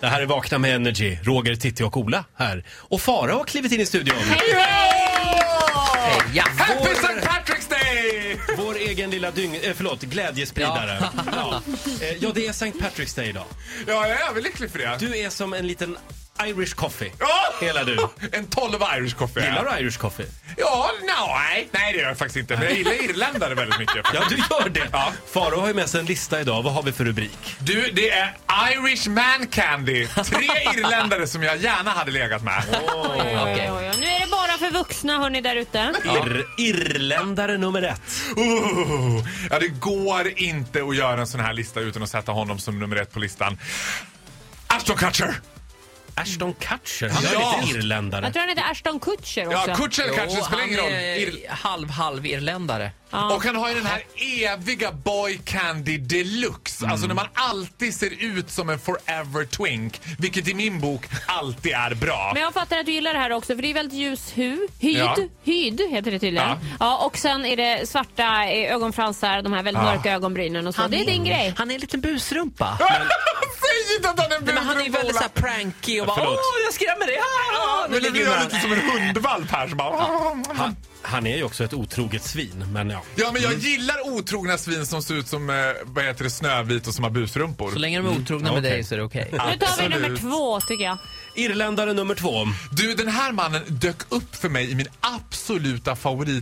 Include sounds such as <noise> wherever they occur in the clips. Det här är Vakna med Energy, Roger, Titti och Ola här. Och Farao har klivit in i studion. Ja, Happy vår- St. Patrick's Day! Vår egen lilla dyng... Eh, förlåt, glädjespridare. Ja. Ja. Eh, ja, det är St. Patrick's Day idag. Ja, jag är överlycklig för det. Du är som en liten Irish coffee. Ja! Hela du. En 12 Irish coffee. Gillar du Irish coffee? Ja, nej. Nej, det gör jag faktiskt inte. Men jag gillar irländare väldigt mycket. Ja, du gör det. Ja. Farao har ju med sig en lista idag. Vad har vi för rubrik? Du, det är Irish man candy. Tre irländare som jag gärna hade legat med. Oj, oj, oj, oj. Nu är det bara för vuxna hörni där ute. Ir- Irländare nummer ett. Oh, ja, det går inte att göra en sån här lista utan att sätta honom som nummer ett på listan. Ashton Kutcher! Ashton Kutcher, han är Ja. lite irländare. Jag tror han heter Ashton Kutcher Ja, också. Kutcher Jo, kanske, det spelar ingen roll. Han är Ir- halv, halv irländare. Och han har ju den här eviga boy candy deluxe. Mm. Alltså när man alltid ser ut som en forever twink. Vilket i min bok alltid är bra. Men jag fattar att du gillar det här också för det är väldigt ljus hu, hyd, Ja. hyd heter det tydligen. Ja. Ja. och sen är det svarta eh, ögonfransar, de här väldigt mörka ögonbrynen och så. det är din grej. Han är en liten busrumpa. <laughs> Säg inte att han är en Men han är ju väldigt så här pranky och bara Förlåt. åh, jag skrämmer dig. Ah, ah, nu Men det ligger är han. lite som en hundvalp här som bara... Han, han är ju också ett otroget svin, men ja. Ja, men jag gillar otrogna svin som ser ut som eh, vad heter det, Snövit och som har busrumpor. Så länge de är otrogna Ja, med okej. dig så är det okej. Nu tar vi Absolut. nummer två tycker jag. Irländare nummer två. Du, den här mannen dök upp för mig i min absoluta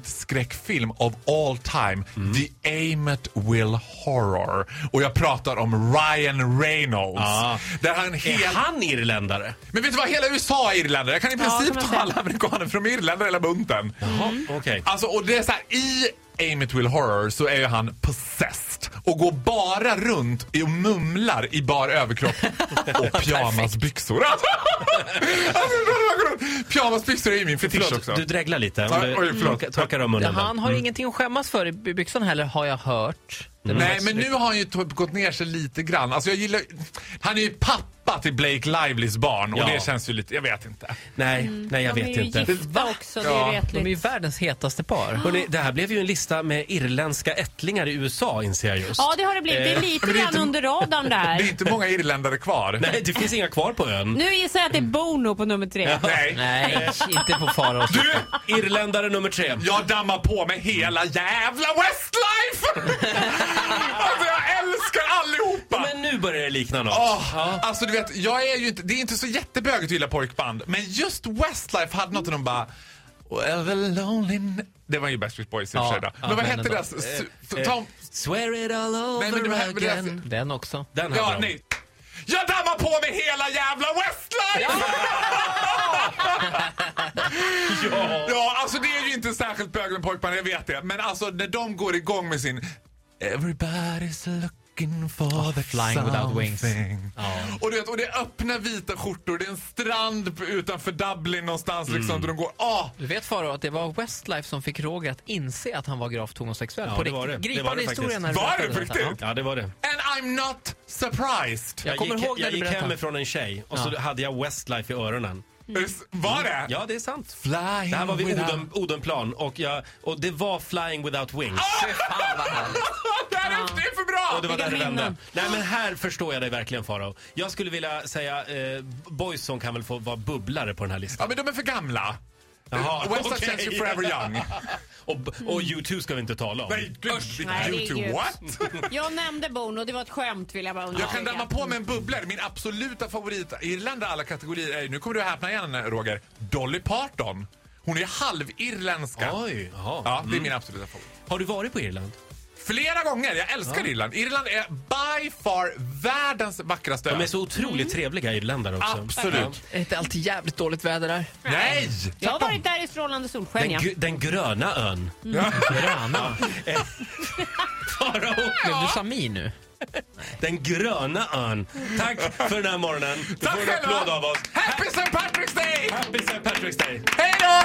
favoritskräckfilm of all time. Mm. The Amet Will Horror. Och jag pratar om Ryan Reynolds. Ah. Där han Är helt... han irländare? Men vet du vad, hela USA är irländare. Jag kan i princip kan man ta säga. alla amerikaner från irländare hela bunten. Jaha, okej. Alltså, och det är så här, i Amet Will Horror så är ju han possessed och går bara runt och mumlar i <laughs> bar överkropp och pyjamasbyxor. <laughs> Alltså, alltså, går runt. pyjamasbyxor är ju min fetisch också. Förlåt, du dreglar lite. Om Ja, du oj, förlåt. torka- torkar om munnen. Han Mm. har ingenting att skämmas för i by- byxan heller har jag hört. Det är någon Nej, slags- men nu har han ju typ gått ner sig lite grann. Alltså, jag gillar, han är ju pappa till Blake Livelys barn och Ja. det känns ju lite, jag vet inte. Nej, nej jag de vet är ju inte. gifta också, det är ju Ja, de De är ju retligt. världens hetaste par. Hörrni, det här blev ju en lista med irländska ättlingar i USA inser jag just. Ja det har det blivit. Det Eh, är lite grann under radarn <laughs> Det är där. inte många irländare kvar. Nej, det finns inga kvar på <laughs> ön. Nu gissar jag att det är Bono på nummer tre. <laughs> Nej. Nej, inte på Faraos. Du, Irländare nummer tre. Jag dammar på med hela jävla Westlife! alltså jag älskar allihopa! Men nu börjar det likna något. Åh, Alltså du vet, jag är ju inte, det är inte så jättebögigt att gilla pojkband, men just Westlife hade något och de bara... Well, the lonely... n-" Det var ju Backstreet Boys i och för sig då. ja, Men vad men hette ändå. deras... su- Eh, Tom... Swear it all Nej, men det här- over men det här- again. Den också. Den här Ja, bra. nej. Jag dammar på med hela jävla Westlife! <laughs> ja. alltså det är ju inte särskilt bög med pojkband, jag vet det. Men alltså när de går igång med sin Everybody's looking for the Flying without wings. something." Och, du vet, och det är öppna vita skjortor, det är en strand på- utanför Dublin någonstans liksom. Och de går, ah! Du vet Farao att det var Westlife som fick Roger att inse att han var gravt homosexuell. Ja, på det var riktigt. det. Det var Gripande det historia faktiskt. när du Var det berättade på detta. riktigt? Ja. Ja, det var det. And I'm not surprised. Jag kommer gick, ihåg när jag du gick berättade. hemifrån en tjej och så Ja. hade jag Westlife i öronen. Var det? Ja, det är sant. Flying Det här var vid without- Oden, Odenplan och, jag, och det var Flying Without Wings. <laughs> det här är det är för bra! Och det var där det vilka vände. minnen. Nej men här förstår jag dig verkligen Farao. Jag skulle vilja säga eh, Boyzone kan väl få vara bubblare på den här listan. Ja, men de är för gamla. Jaha, West Side okej. känns ju forever young. Och, <laughs> och U2 ska vi inte tala om. Nej, gud. Nej, det är YouTube, gud. what? Jag nämnde Bono, det var ett skämt vill jag bara Jag kan understryka. damma på med en bubblare. Min absoluta favorit irländare alla kategorier är, nu kommer du häpna igen Roger, Dolly Parton. Hon är halvirländska. Oj, jaha. Ja, det är min absoluta favorit. Har du varit på Irland? Mm. Flera gånger, jag älskar Irland. Irland är by far världens vackraste De är ö. så otroligt trevliga irländare också. Absolut. Är det inte alltid jävligt dåligt väder där? Nej! Jag har varit där i strålande solsken Den, ja. gr- den gröna ön. Eh, Gröna? Farao, Blev du Samir nu? den gröna ön. Tack för den här morgonen. Du Tack får en applåd av oss. Happy St. Patrick's Day! Happy St. Patrick's Day. Hej då!